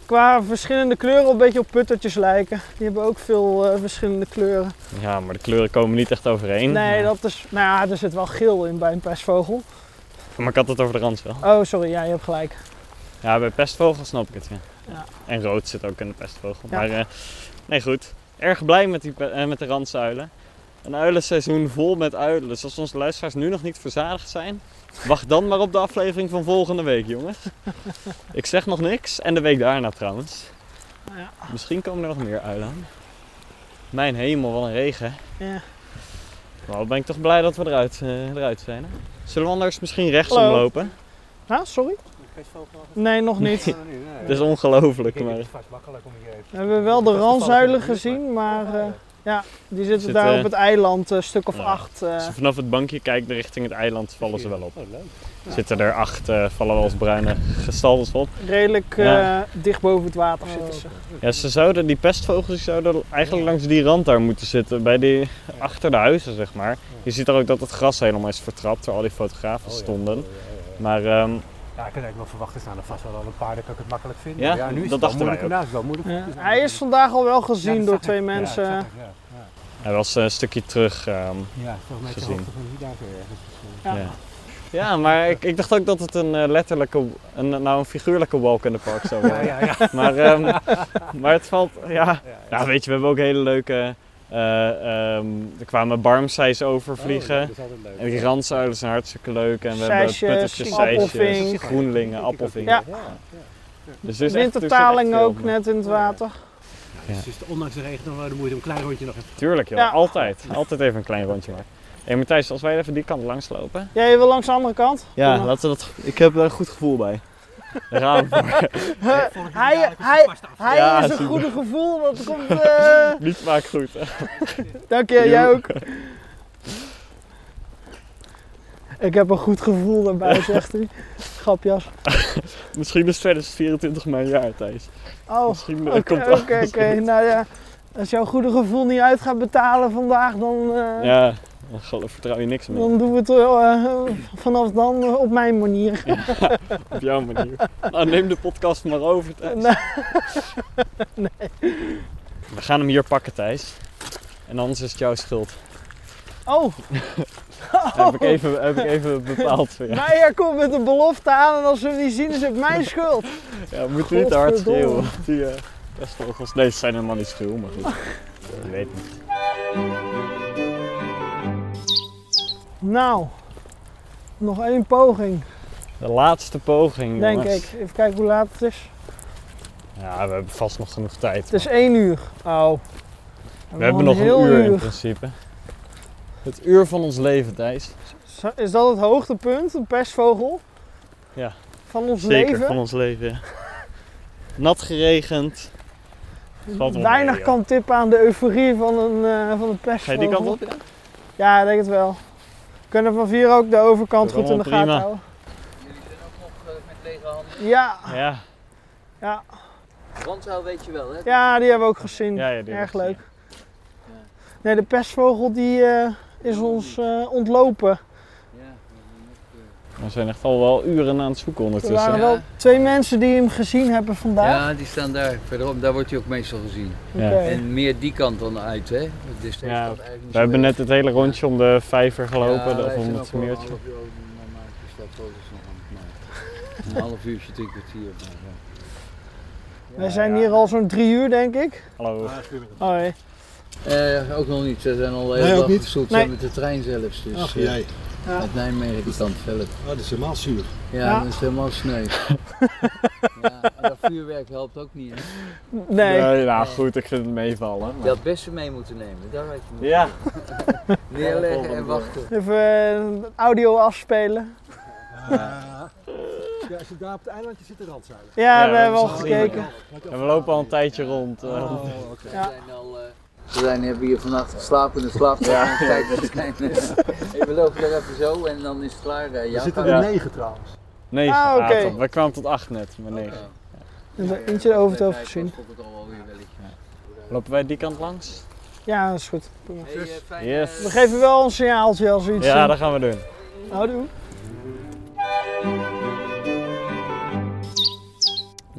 Speaker 1: qua verschillende kleuren, een beetje op puttertjes lijken. Die hebben ook veel eh, verschillende kleuren.
Speaker 2: Ja, maar de kleuren komen niet echt overeen.
Speaker 1: Nee,
Speaker 2: Maar-
Speaker 1: dat is, nou ja, er zit wel geel in bij een pestvogel.
Speaker 2: Maar ik had het over de randzuil.
Speaker 1: Oh, sorry, ja, je hebt gelijk.
Speaker 2: Ja, bij pestvogel snap ik het, ja.
Speaker 1: Ja.
Speaker 2: En rood zit ook in de pestvogel.
Speaker 1: Ja.
Speaker 2: Maar eh, nee, goed. Erg blij met, die, pe- eh, met de randzuilen. Een uilenseizoen vol met uilen. Dus als onze luisteraars nu nog niet verzadigd zijn... wacht dan maar op de aflevering van volgende week, jongens. ik zeg nog niks. En de week daarna trouwens.
Speaker 1: Nou Ja.
Speaker 2: Misschien komen er nog meer uilen aan. Mijn hemel, wat een regen.
Speaker 1: Ja.
Speaker 2: Maar wat ben ik toch blij dat we eruit, eh, eruit zijn. Hè? Zullen we anders misschien rechtsom
Speaker 1: Hallo.
Speaker 2: lopen?
Speaker 1: Ah, sorry? Nee, nog niet.
Speaker 2: Het is ongelooflijk,
Speaker 5: Ik denk
Speaker 2: maar...
Speaker 5: dat het vast makkelijk om hier even.
Speaker 1: We hebben wel de
Speaker 5: Dat Oh, is toevallig
Speaker 1: ranzuilen
Speaker 5: in de buurt,
Speaker 1: gezien, maar eh, ja, die zitten
Speaker 2: Zit,
Speaker 1: daar
Speaker 2: eh,
Speaker 1: op het eiland, een stuk of
Speaker 2: ja.
Speaker 1: acht. eh.
Speaker 2: Als je vanaf het bankje kijkt richting het eiland, vallen ze wel op.
Speaker 5: Oh, leuk.
Speaker 2: Zitten er acht, eh, vallen wel als bruine gestaltes op.
Speaker 1: redelijk eh,
Speaker 2: Ja.
Speaker 1: dicht boven het water
Speaker 5: Oh,
Speaker 1: zitten ze.
Speaker 2: Ja, ze zouden, die pestvogels die zouden eigenlijk langs die rand daar moeten zitten, bij die, achter de huizen zeg maar. Je ziet er ook dat het gras helemaal is vertrapt, waar al die fotografen
Speaker 5: Oh, ja.
Speaker 2: stonden.
Speaker 5: Oh, ja, ja, ja.
Speaker 2: Maar ehm,
Speaker 5: Ja, ik had eigenlijk wel verwacht, er staan er vast wel al een paar, dan kan ik het makkelijk vinden.
Speaker 2: Ja,
Speaker 5: Maar nu
Speaker 2: dat
Speaker 5: is het wel
Speaker 2: dachten wij
Speaker 5: moeilijk om na te komen, moeilijk.
Speaker 1: Ja,
Speaker 5: Dus dan
Speaker 1: Hij
Speaker 5: moet
Speaker 1: is
Speaker 5: je-
Speaker 1: vandaag al wel
Speaker 5: Ja,
Speaker 1: gezien
Speaker 5: dat
Speaker 1: door
Speaker 5: zag ik.
Speaker 1: twee
Speaker 5: Ja, dat
Speaker 1: mensen.
Speaker 5: zag ik, ja. Ja.
Speaker 2: hij was eh, een stukje terug. ehm,
Speaker 5: Ja, volgens mij is de
Speaker 2: Gezien.
Speaker 5: hoogte van hier daar zo ergens. Dus, eh,
Speaker 1: Ja.
Speaker 2: ja. ja, maar ik, ik dacht ook dat het een eh, letterlijke, een, nou een figuurlijke walk in the park zou
Speaker 5: Ja,
Speaker 2: worden.
Speaker 5: ja, ja.
Speaker 2: Maar, ehm, maar het valt, ja,
Speaker 5: ja, ja.
Speaker 2: Ja, weet je, we hebben ook hele leuke. eh, ehm, er kwamen barmseis over vliegen.
Speaker 5: Oh, dat is altijd leuk.
Speaker 2: En die randzuilen zijn hartstikke leuk. En we
Speaker 1: Zeisjes,
Speaker 2: hebben puttertjes,
Speaker 1: appelvink.
Speaker 2: zeisjes, groenlingen, appelvink.
Speaker 1: Ja.
Speaker 2: Dus er is echt- er zit echt
Speaker 1: Wintertaling
Speaker 2: veel,
Speaker 1: ook
Speaker 2: maar-
Speaker 1: net in het water.
Speaker 5: Dus is het ondanks de regen nog wel de moeite om een klein rondje nog even
Speaker 2: Tuurlijk joh,
Speaker 1: eh, Ja.
Speaker 2: altijd. Altijd even een klein rondje maken. Hé hey, Matthijs, als wij even die kant langs lopen.
Speaker 1: Jij wil langs de andere kant? Kom maar.
Speaker 2: laten we dat... Ik heb daar een goed gevoel bij. Daar gaan we voor.
Speaker 1: Eh,
Speaker 5: Eh,
Speaker 1: Hij, hij, hij
Speaker 2: Ja,
Speaker 1: is een
Speaker 2: super.
Speaker 1: goede gevoel, want er komt... eh,
Speaker 2: Niet vaak goed. hè.
Speaker 1: Dank je,
Speaker 2: Jo.
Speaker 1: jij ook. Ik heb een goed gevoel daarbij, zegt hij. Grapjas.
Speaker 2: Misschien is 2024 mijn jaar, Thijs.
Speaker 1: Oh,
Speaker 2: Misschien eh,
Speaker 1: oké,
Speaker 2: komt
Speaker 1: oké,
Speaker 2: alles
Speaker 1: oké.
Speaker 2: goed.
Speaker 1: Nou ja, als jouw goede gevoel niet uit gaat betalen vandaag, dan, eh,
Speaker 2: Ja, dan geloof- vertrouw je niks meer.
Speaker 1: dan doen we het eh, vanaf dan eh, op mijn manier.
Speaker 2: Op jouw manier. Nou, neem de podcast maar over, Thijs.
Speaker 1: Nee.
Speaker 2: We gaan hem hier pakken, Thijs. En anders is het jouw schuld.
Speaker 1: Oh,
Speaker 2: Heb, ik even, heb ik even bepaald voor jou.
Speaker 1: mij er komt met een belofte aan en als we hem niet zien is het mijn schuld.
Speaker 2: Ja, we moeten niet te hard
Speaker 1: Godverdomme.
Speaker 2: schreeuwen. want Die eh, pestvogels. Nee, ze zijn helemaal niet schreeuw, maar goed. Je weet niet.
Speaker 1: Nou, nog één poging,
Speaker 2: De laatste poging,
Speaker 1: denk
Speaker 2: jongens.
Speaker 1: ik. Even kijken hoe laat het is.
Speaker 2: Ja, we hebben vast nog genoeg tijd.
Speaker 1: Het is één uur. Oh.
Speaker 2: we hebben nog een uur, in principe. Het uur van ons leven, Thijs.
Speaker 1: Zo- Is dat het hoogtepunt, een pestvogel?
Speaker 2: Ja.
Speaker 1: Van ons
Speaker 2: Zeker,
Speaker 1: leven?
Speaker 2: van ons leven, ja. Nat geregend. Valt wel
Speaker 1: Weinig
Speaker 2: mee, joh.
Speaker 1: kan tippen aan de euforie van een, eh, van een
Speaker 2: Ga
Speaker 1: pestvogel.
Speaker 2: je die kant op?
Speaker 1: Ja, ik denk het wel. We kunnen van vier ook de overkant
Speaker 2: Dat is
Speaker 1: goed in de
Speaker 2: allemaal
Speaker 1: gaten houden.
Speaker 2: prima.
Speaker 4: Jullie zijn ook nog eh, met lege handen.
Speaker 1: Ja,
Speaker 2: Ja.
Speaker 1: ja.
Speaker 4: Randzaal weet je wel, hè?
Speaker 1: ja, die hebben we ook gezien.
Speaker 2: Ja, ja, die
Speaker 1: Erg
Speaker 2: heb ik
Speaker 1: leuk. Nee, de pestvogel die eh, is ons eh, ontlopen.
Speaker 4: Ja,
Speaker 2: We zijn echt al wel uren aan het zoeken
Speaker 1: Er
Speaker 2: ondertussen.
Speaker 1: waren
Speaker 6: Ja.
Speaker 1: wel twee mensen die hem gezien hebben vandaag.
Speaker 6: Ja, die staan daar. Verderop, daar wordt hij ook meestal gezien.
Speaker 1: Oké.
Speaker 2: Ja.
Speaker 6: En meer die kant dan uit, hè? Want Dus deze
Speaker 2: Ja,
Speaker 6: kant eigenlijk niet
Speaker 2: We
Speaker 6: zo
Speaker 2: hebben
Speaker 6: erg.
Speaker 2: net het hele rondje om de vijver gelopen,
Speaker 6: Ja,
Speaker 2: of
Speaker 6: wij
Speaker 2: om
Speaker 6: zijn
Speaker 2: het
Speaker 6: ook al een
Speaker 2: meertje.
Speaker 6: half uur over aan het maken. Dus dat foto's nog aan het maken. Een half uurtje, drie kwartier. maar, ja.
Speaker 1: Wij zijn hier al zo'n drie uur, denk ik.
Speaker 2: Hallo.
Speaker 1: Hoi.
Speaker 6: Eh, ook nog niet. Ze zijn al
Speaker 7: Nee,
Speaker 6: heel
Speaker 7: ook
Speaker 6: dag
Speaker 7: niet.
Speaker 6: gezoet
Speaker 1: Nee.
Speaker 6: met de trein zelfs. Dus,
Speaker 7: Ach
Speaker 6: eh,
Speaker 7: jij,
Speaker 1: Ja.
Speaker 6: Uit Nijmegen die kant verder.
Speaker 7: Ah, dat is helemaal zuur.
Speaker 6: Ja,
Speaker 1: Ja.
Speaker 6: dat is helemaal sneu. ja, en dat vuurwerk helpt ook niet. Hè?
Speaker 1: Nee.
Speaker 2: nou goed, ik vind het meevallen.
Speaker 6: Je had best mee moeten nemen. Daar had je moeten
Speaker 2: Ja,
Speaker 6: neerleggen en wachten.
Speaker 1: Even eh, audio afspelen.
Speaker 7: Ja, als je daar op het eilandje zit, de randzeilen.
Speaker 1: Ja,
Speaker 2: we
Speaker 1: we hebben al
Speaker 2: hebben ze
Speaker 1: gekeken.
Speaker 2: Oh, en we lopen al een tijdje rond. eh.
Speaker 7: Oh, oké.
Speaker 1: Ja.
Speaker 6: We zijn al. eh, we zijn, hebben hier vannacht geslapen in de slaapkamer. Ja. Tijd waarschijnlijk. Hey, we lopen er even zo en dan is het klaar. eh,
Speaker 7: Er
Speaker 6: ja,
Speaker 7: zitten
Speaker 6: gaan
Speaker 7: er
Speaker 6: we-
Speaker 7: negen trouwens.
Speaker 2: Negen.
Speaker 1: Ah, oké.
Speaker 2: Ah, top. we kwamen tot acht net, maar negen.
Speaker 1: We hebben eentje over het
Speaker 6: Ja,
Speaker 1: hoofd
Speaker 6: ja,
Speaker 1: gezien.
Speaker 6: dat komt het al wel weer welletje.
Speaker 2: Lopen wij die kant langs?
Speaker 1: Ja, dat is goed. Prima.
Speaker 6: Hey, eh, fijn,
Speaker 2: Yes.
Speaker 6: eh,
Speaker 1: We geven wel een signaaltje als we iets
Speaker 2: Ja,
Speaker 1: zien.
Speaker 2: dat gaan we doen.
Speaker 1: Houdoe.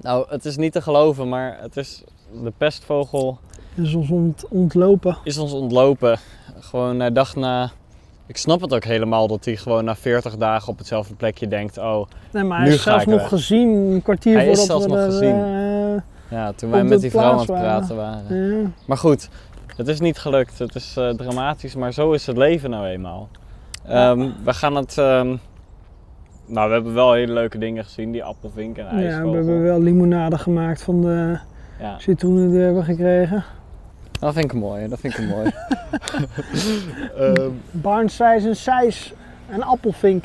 Speaker 2: Nou, het is niet te geloven, maar het is de pestvogel
Speaker 1: Het is ons ont- ontlopen.
Speaker 2: is ons ontlopen. Gewoon hij dacht na. Ik snap het ook helemaal dat hij gewoon na 40 dagen op hetzelfde plekje denkt. Oh,
Speaker 1: Nee, maar hij
Speaker 2: Nu
Speaker 1: is
Speaker 2: ga
Speaker 1: zelfs
Speaker 2: ik
Speaker 1: nog
Speaker 2: weg.
Speaker 1: gezien, een kwartier
Speaker 2: Hij is
Speaker 1: voordat
Speaker 2: zelfs
Speaker 1: we
Speaker 2: nog
Speaker 1: er,
Speaker 2: gezien.
Speaker 1: eh,
Speaker 2: ja, toen wij
Speaker 1: Op
Speaker 2: met
Speaker 1: de
Speaker 2: die vrouw aan het
Speaker 1: plaats waren.
Speaker 2: praten waren.
Speaker 1: eh, ja.
Speaker 2: Maar goed, het is niet gelukt. Het is eh, dramatisch, maar zo is het leven nou eenmaal. Ehm, we gaan het. ehm, nou, we hebben wel hele leuke dingen gezien. Die appelvink en
Speaker 1: Ja, we
Speaker 2: ijsvogel.
Speaker 1: hebben wel limonade gemaakt van de
Speaker 2: Ja.
Speaker 1: citroenen die we hebben gekregen.
Speaker 2: Dat vind ik mooi. Dat vind ik mooi.
Speaker 1: Barnsijs en sijs en appelvink.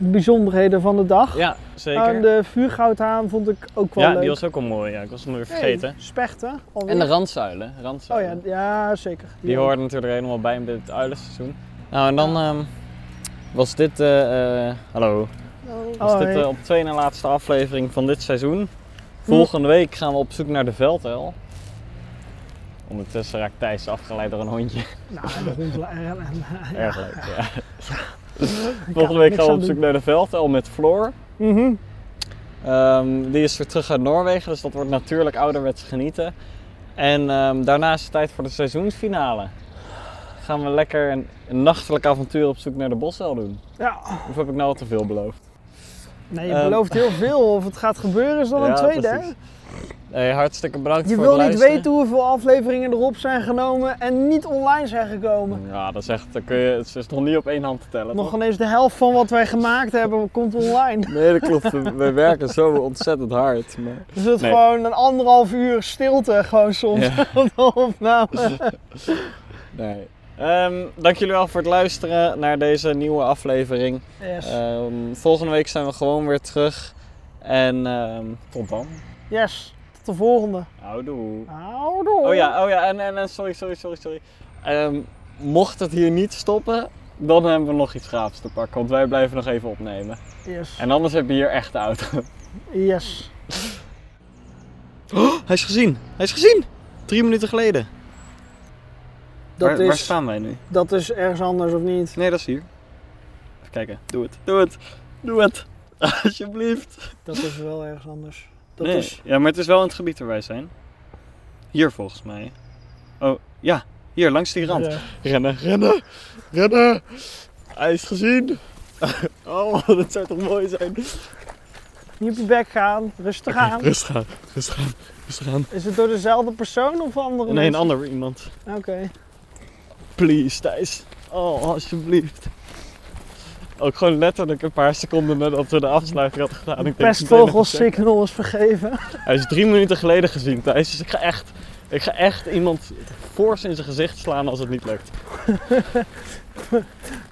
Speaker 1: De bijzonderheden van de dag.
Speaker 2: ja, zeker.
Speaker 1: En de vuurgoudhaan vond ik ook wel
Speaker 2: ja,
Speaker 1: leuk.
Speaker 2: die was ook al mooi. Ja, ik was hem weer vergeten.
Speaker 1: Hey, spechten. alweer.
Speaker 2: En de randzuilen.
Speaker 1: Oh
Speaker 2: randzuilen.
Speaker 1: ja, ja zeker.
Speaker 2: Die hoorden natuurlijk helemaal bij in dit uilenseizoen. Nou, en dan ehm, was dit, eh, eh, hallo, was
Speaker 1: Oh,
Speaker 2: dit
Speaker 1: hey.
Speaker 2: eh, op de tweede en laatste aflevering van dit seizoen. Volgende week gaan we op zoek naar de veldhel. Ondertussen raakt Thijs afgeleid door een hondje.
Speaker 1: Nou, de hond- eh, eh, eh, ja.
Speaker 2: Erg leuk, ja. Volgende week
Speaker 1: niks
Speaker 2: gaan we
Speaker 1: aan
Speaker 2: op zoek
Speaker 1: doen.
Speaker 2: naar de veldhel met Floor.
Speaker 1: Mhm.
Speaker 2: Ehm, die is weer terug uit Noorwegen, dus dat wordt natuurlijk ouderwets genieten. En ehm, daarna is het tijd voor de seizoensfinale. Gaan we lekker een, een nachtelijk avontuur op zoek naar de boshel doen.
Speaker 1: ja.
Speaker 2: Of heb ik nou al te veel beloofd?
Speaker 1: Nee, je
Speaker 2: Ehm.
Speaker 1: belooft heel veel. Of het gaat gebeuren is dan een tweede. hè?
Speaker 2: precies. Hey, hartstikke bedankt
Speaker 1: Je
Speaker 2: voor
Speaker 1: wil
Speaker 2: het
Speaker 1: niet
Speaker 2: luisteren.
Speaker 1: weten hoeveel afleveringen erop zijn genomen en niet online zijn gekomen.
Speaker 2: Ja, dat is echt, dat kun je, het is nog niet op één hand te tellen.
Speaker 1: Nog
Speaker 2: toch?
Speaker 1: ineens de helft van wat wij gemaakt hebben komt online.
Speaker 2: Nee, dat klopt. We, we werken zo ontzettend hard. Maar...
Speaker 1: Dus het
Speaker 2: Nee.
Speaker 1: gewoon een anderhalf uur stilte gewoon soms
Speaker 2: Ja. Dus,
Speaker 1: op nou, de opname.
Speaker 2: Nee. Ehm, dank jullie wel voor het luisteren naar deze nieuwe aflevering.
Speaker 1: eh, Yes.
Speaker 2: Ehm, volgende week zijn we gewoon weer terug. En ehm, tot dan.
Speaker 1: yes. Tot de volgende.
Speaker 2: Houdoe.
Speaker 1: Houdoe.
Speaker 2: Oh ja, oh ja, en, en, en sorry, sorry, sorry, sorry. Ehm, mocht het hier niet stoppen, dan hebben we nog iets gaafs te pakken. Want wij blijven nog even opnemen.
Speaker 1: Yes.
Speaker 2: En anders heb je hier echt de auto.
Speaker 1: Yes.
Speaker 2: hij is gezien. Hij is gezien. Drie minuten geleden.
Speaker 1: Dat,
Speaker 2: waar, waar
Speaker 1: is,
Speaker 2: staan wij nu?
Speaker 1: dat is ergens anders of niet?
Speaker 2: Nee, dat is hier. Even kijken. Doe het. Doe het. Doe het. Alsjeblieft.
Speaker 1: Dat is wel ergens anders. Dat
Speaker 2: nee.
Speaker 1: is...
Speaker 2: Ja, maar het is wel in het gebied waar wij zijn. Hier volgens mij. Oh, ja. Hier, langs die rand.
Speaker 1: Ja.
Speaker 2: Rennen, rennen, rennen. Hij is gezien. Oh, dat zou toch mooi zijn.
Speaker 1: Niet op je bek gaan. Rustig aan.
Speaker 2: Rustig aan, rustig aan, rustig aan.
Speaker 1: Is het door dezelfde persoon of andere
Speaker 2: Oh, Nee, een
Speaker 1: mensen?
Speaker 2: ander iemand.
Speaker 1: Oké.
Speaker 2: Please, Thijs. Oh, alsjeblieft. Ook gewoon letterlijk een paar seconden nadat we de afsluiting hadden gedaan. Ik denk, meteen
Speaker 1: Pestvogel is vergeven.
Speaker 2: even- Hij is drie minuten geleden gezien, Thijs. Dus ik ga echt, ik ga echt iemand fors in zijn gezicht slaan als het niet lukt.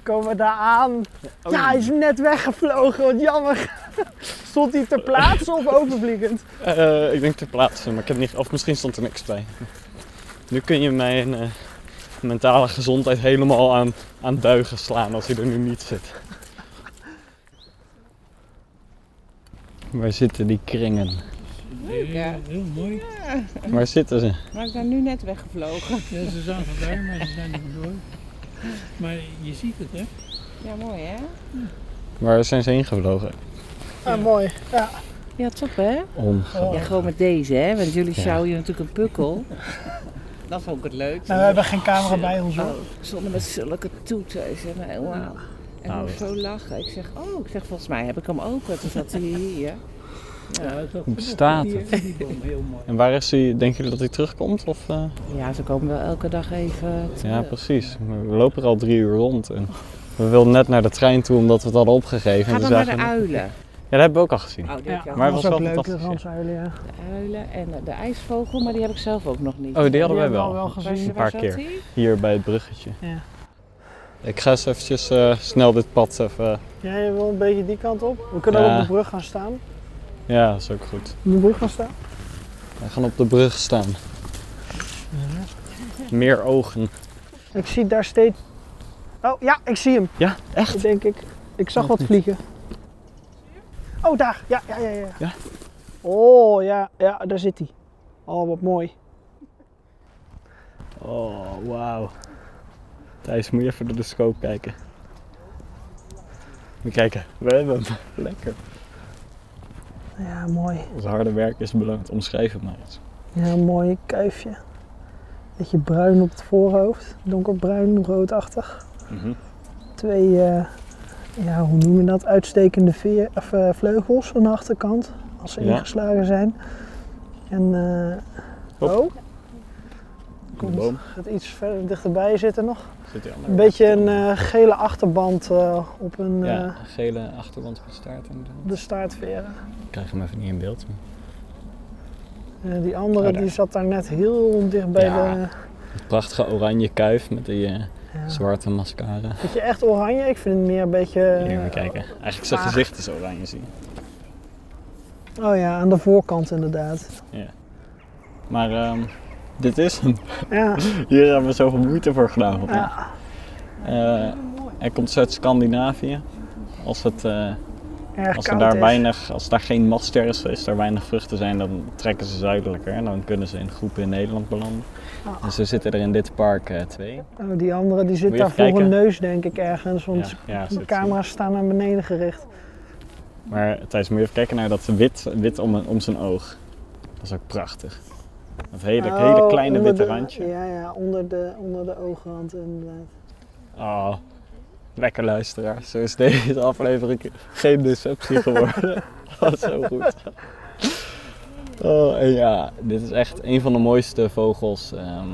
Speaker 1: Komen we daar aan.
Speaker 2: Oh,
Speaker 1: Ja, hij is net weggevlogen. Wat jammer. Stond hij ter plaatse of overvliegend?
Speaker 2: Eh, ik denk ter plaatse, maar ik heb niet. Of misschien stond er niks bij. Nu kun je mijn eh, mentale gezondheid helemaal aan, aan duigen slaan als hij er nu niet zit. Waar zitten die kringen?
Speaker 3: Ja.
Speaker 8: Heel mooi.
Speaker 2: Waar zitten ze?
Speaker 3: Maar ik ben nu net weggevlogen.
Speaker 8: Ja, ze zaten daar, maar ze zijn er vandoor. Maar je ziet het, hè?
Speaker 3: Ja, mooi hè?
Speaker 2: Waar zijn ze heen gevlogen?
Speaker 1: Ah, mooi. Ja.
Speaker 8: Ja, toch hè? Ja,
Speaker 2: Ongelooflijk.
Speaker 8: gewoon met deze hè, want jullie
Speaker 2: Ja.
Speaker 8: sjouwen hier natuurlijk een pukkel.
Speaker 4: Dat is ook het leukste.
Speaker 1: Nou, we hebben geen camera bij ons hoor.
Speaker 8: Oh, zonder met zulke toeten. Ik zeg, maar, wauw. En
Speaker 2: Nou,
Speaker 8: hoe zo lachen. Ik zeg, oh, ik zeg, volgens mij heb ik hem open. Toen zat hij hier. Ja,
Speaker 2: Hoe bestaat het? En waar is hij? Denken jullie dat hij terugkomt? Of, eh?
Speaker 8: ja ze komen wel elke dag even
Speaker 2: Ja,
Speaker 8: terug.
Speaker 2: precies. We lopen er al drie uur rond. En we wilden net naar de trein toe omdat we het hadden opgegeven.
Speaker 8: Ga
Speaker 2: En we
Speaker 8: dan naar de
Speaker 2: zagen-
Speaker 8: uilen.
Speaker 2: Ja, dat hebben we ook al gezien.
Speaker 8: Oh, die
Speaker 1: Ja,
Speaker 8: heb je al.
Speaker 2: Maar- was
Speaker 1: was ook
Speaker 2: wel
Speaker 1: leuk,
Speaker 2: fantastisch, ja.
Speaker 1: Ramsuilen, ja.
Speaker 8: De uilen en de- de ijsvogel, maar die heb ik zelf ook nog niet.
Speaker 2: Oh, die hadden
Speaker 1: Die
Speaker 2: wij
Speaker 1: hebben we al
Speaker 2: wel.
Speaker 1: wel
Speaker 8: Waar-
Speaker 1: gezien.
Speaker 2: een paar
Speaker 8: waar zat
Speaker 2: keer.
Speaker 8: die?
Speaker 2: Hier bij het bruggetje.
Speaker 1: Ja.
Speaker 2: Ik ga eens eventjes eh, snel dit pad even...
Speaker 1: Jij wil een beetje die kant op. We kunnen ook
Speaker 2: Ja.
Speaker 1: op de brug gaan staan.
Speaker 2: Ja, dat is ook goed.
Speaker 1: Op de brug gaan staan.
Speaker 2: We gaan op de brug staan. Meer ogen.
Speaker 1: Ik zie daar steeds... Oh ja, ik zie hem.
Speaker 2: Ja,
Speaker 1: echt? Denk ik. Ik zag
Speaker 2: Nog
Speaker 1: wat
Speaker 2: niet.
Speaker 1: vliegen. Oh, daar. Ja, ja, ja, ja.
Speaker 2: Ja?
Speaker 1: Oh, ja, ja, daar zit hij. Oh, wat mooi.
Speaker 2: Oh, wauw. Thijs, moet je even door de scope kijken. Moet je kijken, we hebben hem. Lekker.
Speaker 1: Ja, mooi.
Speaker 2: Ons harde werk is beloond. Omschrijf het maar eens.
Speaker 1: Ja, een mooi kuifje. Beetje bruin op het voorhoofd. Donkerbruin, roodachtig.
Speaker 2: Mhm.
Speaker 1: Twee, eh, ja, hoe noem je dat? Uitstekende veer, of, eh, vleugels aan de achterkant. Als ze
Speaker 2: Ja.
Speaker 1: ingeslagen zijn. En, eh
Speaker 2: Hop.
Speaker 1: oh,
Speaker 2: De boom.
Speaker 1: gaat iets verder dichterbij zitten nog.
Speaker 2: Zit hij aan de
Speaker 1: Een beetje een
Speaker 2: rechterkant.
Speaker 1: eh, gele achterband eh, op een,
Speaker 2: Ja,
Speaker 1: eh,
Speaker 2: een gele achterwand van staart inderdaad.
Speaker 1: de staartveren.
Speaker 2: Ik krijg hem even niet in beeld. maar
Speaker 1: Eh, die andere
Speaker 2: Oh, daar.
Speaker 1: die zat daar net heel dicht bij
Speaker 2: Ja.
Speaker 1: de...
Speaker 2: Een prachtige oranje kuif met die eh,
Speaker 1: Ja.
Speaker 2: zwarte mascara.
Speaker 1: Vind je echt oranje? Ik vind het meer een beetje...
Speaker 2: Hier, moet
Speaker 1: eh,
Speaker 2: je kijken. Eigenlijk zijn
Speaker 1: vaag.
Speaker 2: gezicht is oranje, zie je.
Speaker 1: Oh ja, aan de voorkant inderdaad.
Speaker 2: Maar ehm, dit is hem.
Speaker 1: Ja,
Speaker 2: Hier hebben we zoveel moeite voor gedaan. volgens mij.
Speaker 1: Ja.
Speaker 2: Eh, hij komt uit Scandinavië. Als, het, eh,
Speaker 1: erg
Speaker 2: als, er
Speaker 1: koud
Speaker 2: daar
Speaker 1: is.
Speaker 2: weinig, als daar geen master is, is er weinig vruchten zijn, dan trekken ze zuidelijker. En dan kunnen ze in groepen in Nederland belanden.
Speaker 1: Ah.
Speaker 2: En zo zitten er in dit park eh, twee.
Speaker 1: Oh, die andere die
Speaker 2: Moet
Speaker 1: zit
Speaker 2: je
Speaker 1: daar
Speaker 2: even
Speaker 1: voor een
Speaker 2: kijken?
Speaker 1: neus denk ik ergens, want
Speaker 2: ja,
Speaker 1: de
Speaker 2: zit-
Speaker 1: camera's staan naar beneden gericht.
Speaker 2: Maar Thijs, moet je even kijken naar dat wit, wit om, om zijn oog. Dat is ook prachtig. Dat hele,
Speaker 1: Oh,
Speaker 2: hele kleine
Speaker 1: onder
Speaker 2: witte
Speaker 1: de-
Speaker 2: randje.
Speaker 1: Ja, ja, onder de, onder de oogrand inderdaad.
Speaker 2: Oh, lekker luisteraar. Zo is deze aflevering geen deceptie geworden. Dat is zo goed. Oh, en ja, dit is echt een van de mooiste vogels ehm,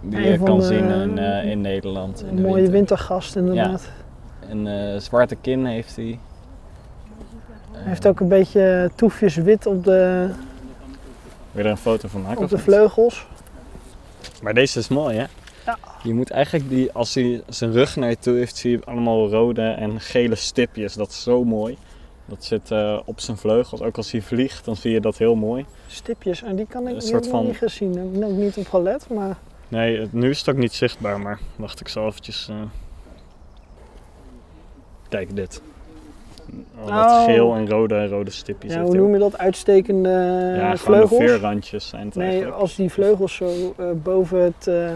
Speaker 2: die
Speaker 1: Een
Speaker 2: je
Speaker 1: van
Speaker 2: kan
Speaker 1: de-
Speaker 2: zien in, eh, in Nederland. in
Speaker 1: Een
Speaker 2: de
Speaker 1: mooie
Speaker 2: winter.
Speaker 1: wintergast inderdaad.
Speaker 2: Een eh, zwarte kin heeft hij.
Speaker 1: Hij heeft ook een beetje toefjes wit op de,
Speaker 2: Wil je er een foto van maken?
Speaker 1: op
Speaker 2: of
Speaker 1: de
Speaker 2: niet?
Speaker 1: vleugels.
Speaker 2: Maar deze is mooi, hè?
Speaker 1: Ja.
Speaker 2: Je moet eigenlijk die, als hij zijn rug naar je toe heeft, zie je allemaal rode en gele stipjes. Dat is zo mooi. Dat zit eh, op zijn vleugels. Ook als hij vliegt, dan zie je dat heel mooi.
Speaker 1: Stipjes, en die kan ik
Speaker 2: Een
Speaker 1: die
Speaker 2: soort
Speaker 1: heb ik nog
Speaker 2: van-
Speaker 1: niet gezien. Daar heb ik ook niet op gelet, maar
Speaker 2: Nee, het- nu is het ook niet zichtbaar, maar wacht, ik zal eventjes... eh, Kijk dit. Al dat
Speaker 1: Oh.
Speaker 2: geel en rode en rode stipjes.
Speaker 1: ja,
Speaker 2: heeft
Speaker 1: hoe
Speaker 2: hij ook.
Speaker 1: noem je dat? Uitstekende
Speaker 2: ja, gewoon de
Speaker 1: vleugels?
Speaker 2: veerrandjes zijn het
Speaker 1: Nee,
Speaker 2: eigenlijk.
Speaker 1: als die vleugels zo eh, boven het eh,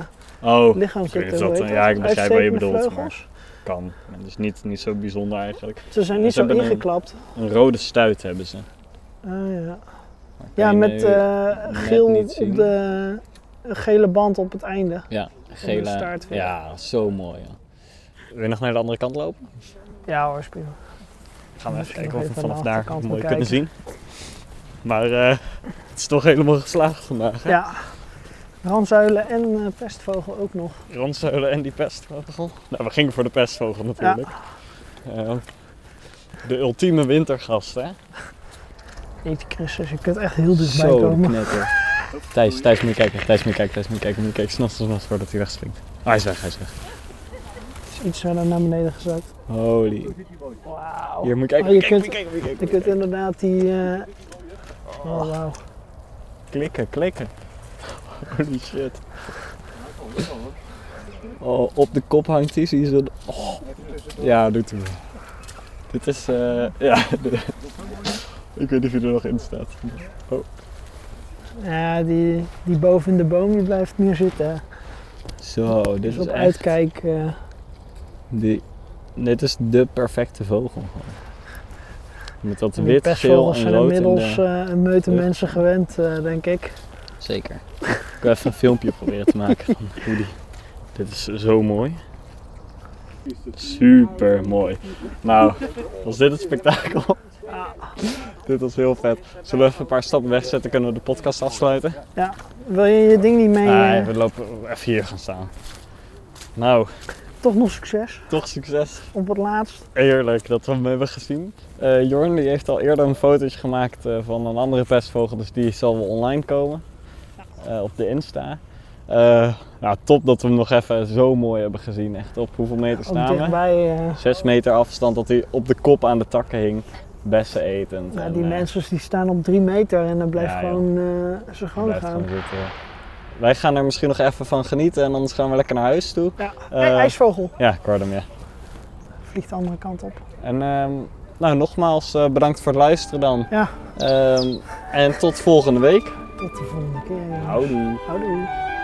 Speaker 2: Oh,
Speaker 1: lichaam
Speaker 2: ik weet niet
Speaker 1: zitten.
Speaker 2: of dat-
Speaker 1: hoe heet
Speaker 2: ja, ik begrijp wat je
Speaker 1: Uitstekende
Speaker 2: bedoelt, maar-
Speaker 1: vleugels.
Speaker 2: kan. Het is niet, niet zo bijzonder eigenlijk.
Speaker 1: Ze zijn niet
Speaker 2: Ze
Speaker 1: zo
Speaker 2: hebben een-
Speaker 1: ingeklapt.
Speaker 2: Een rode stuit hebben ze.
Speaker 1: Ah, ja.
Speaker 2: Maar kan
Speaker 1: ja,
Speaker 2: je
Speaker 1: met
Speaker 2: nu-
Speaker 1: eh,
Speaker 2: net
Speaker 1: geel
Speaker 2: niet
Speaker 1: op
Speaker 2: zien.
Speaker 1: de een gele band op het einde.
Speaker 2: Ja,
Speaker 1: gele- de staart weer.
Speaker 2: Ja, zo mooi. Wil je nog naar de andere kant lopen?
Speaker 1: Ja hoor, speel.
Speaker 2: Gaan we even
Speaker 1: Misschien
Speaker 2: kijken
Speaker 1: nog
Speaker 2: of we
Speaker 1: even
Speaker 2: vanaf
Speaker 1: aan de
Speaker 2: daar mooi
Speaker 1: achterkant
Speaker 2: kunnen zien. Maar eh, het is toch helemaal geslaagd vandaag. hè?
Speaker 1: Ja. Ramzuilen en eh, pestvogel ook nog.
Speaker 2: Randzuilen en die pestvogel. Nou, we gingen voor de pestvogel natuurlijk. Eh, de ultieme wintergast, hè?
Speaker 1: Jeetje Christus, je kunt echt heel dichtbij komen.
Speaker 2: knetter. Thijs, Thijs moet je kijken, Thijs moet je kijken, Thijs moet je kijken, moet je kijken. Snel, snel, snel, voordat hij wegspringt. Ah, hij is weg, hij is weg.
Speaker 1: Het is iets verder naar beneden gezakt.
Speaker 2: Holy.
Speaker 1: Wauw.
Speaker 2: Hier, moet je kijken,
Speaker 1: Oh, je
Speaker 2: moet je kijken,
Speaker 1: kunt-
Speaker 2: moet je kijken, moet je kijken.
Speaker 1: Je kunt inderdaad die... eh, Oh wauw.
Speaker 2: Klikken, klikken. Holy shit. Oh, op de kop hangt hij, zie je zo. Oh. Ja, doet hij wel. Dit is, eh, ja. Ik weet niet of hij er nog in staat.
Speaker 1: Ja, die, die boven in de boom die blijft meer zitten.
Speaker 2: Zo, dit
Speaker 1: Dus
Speaker 2: is
Speaker 1: op
Speaker 2: echt.
Speaker 1: uitkijk. eh,
Speaker 2: Die Dit is de perfecte vogel. gewoon. Met dat
Speaker 1: En die
Speaker 2: wit, geel
Speaker 1: pestvogels
Speaker 2: en
Speaker 1: zijn
Speaker 2: rood. in
Speaker 1: inmiddels
Speaker 2: de-
Speaker 1: eh, een meute
Speaker 2: lucht.
Speaker 1: mensen gewend, eh, denk ik.
Speaker 6: Zeker.
Speaker 2: Ik wil even een filmpje proberen te maken van hoe die. Dit is zo mooi. Super mooi. Nou, was dit het spektakel? Dit was heel vet. Zullen we even een paar stappen wegzetten? Kunnen we de podcast afsluiten?
Speaker 1: Wil je je ding niet mee?
Speaker 2: Nee,
Speaker 1: eh,
Speaker 2: we lopen even hier gaan staan. Nou,
Speaker 1: Toch nog succes
Speaker 2: toch succes.
Speaker 1: op het laatst.
Speaker 2: Eerlijk dat we hem hebben gezien. Eh Jorn die heeft al eerder een fotootje gemaakt eh, van een andere pestvogel, dus die zal wel online komen. Eh, op de Insta. Eh, nou, top dat we hem nog even zo mooi hebben gezien. Echt op hoeveel meter
Speaker 1: Ook
Speaker 2: staan we?
Speaker 1: dichtbij. eh,
Speaker 2: 6 meter afstand dat hij op de kop aan de takken hing. Bessen etend.
Speaker 1: ja,
Speaker 2: en,
Speaker 1: die
Speaker 2: eh,
Speaker 1: mensen die staan op drie meter en dan blijft
Speaker 2: Ja, joh.
Speaker 1: gewoon eh, ze
Speaker 2: hij
Speaker 1: gewoon
Speaker 2: blijft
Speaker 1: gaan.
Speaker 2: gewoon zitten. Wij gaan er misschien nog even van genieten en anders gaan we lekker naar huis toe.
Speaker 1: Ja.
Speaker 2: Eh,
Speaker 1: Hey, ijsvogel
Speaker 2: Ja, ik hoorde hem, ja.
Speaker 1: vliegt de andere kant op.
Speaker 2: En ehm, nou, nogmaals eh, bedankt voor het luisteren dan.
Speaker 1: Ja.
Speaker 2: Ehm, en tot volgende week.
Speaker 1: Tot de volgende keer. jongens.
Speaker 2: Houdoe.
Speaker 1: Houdoe.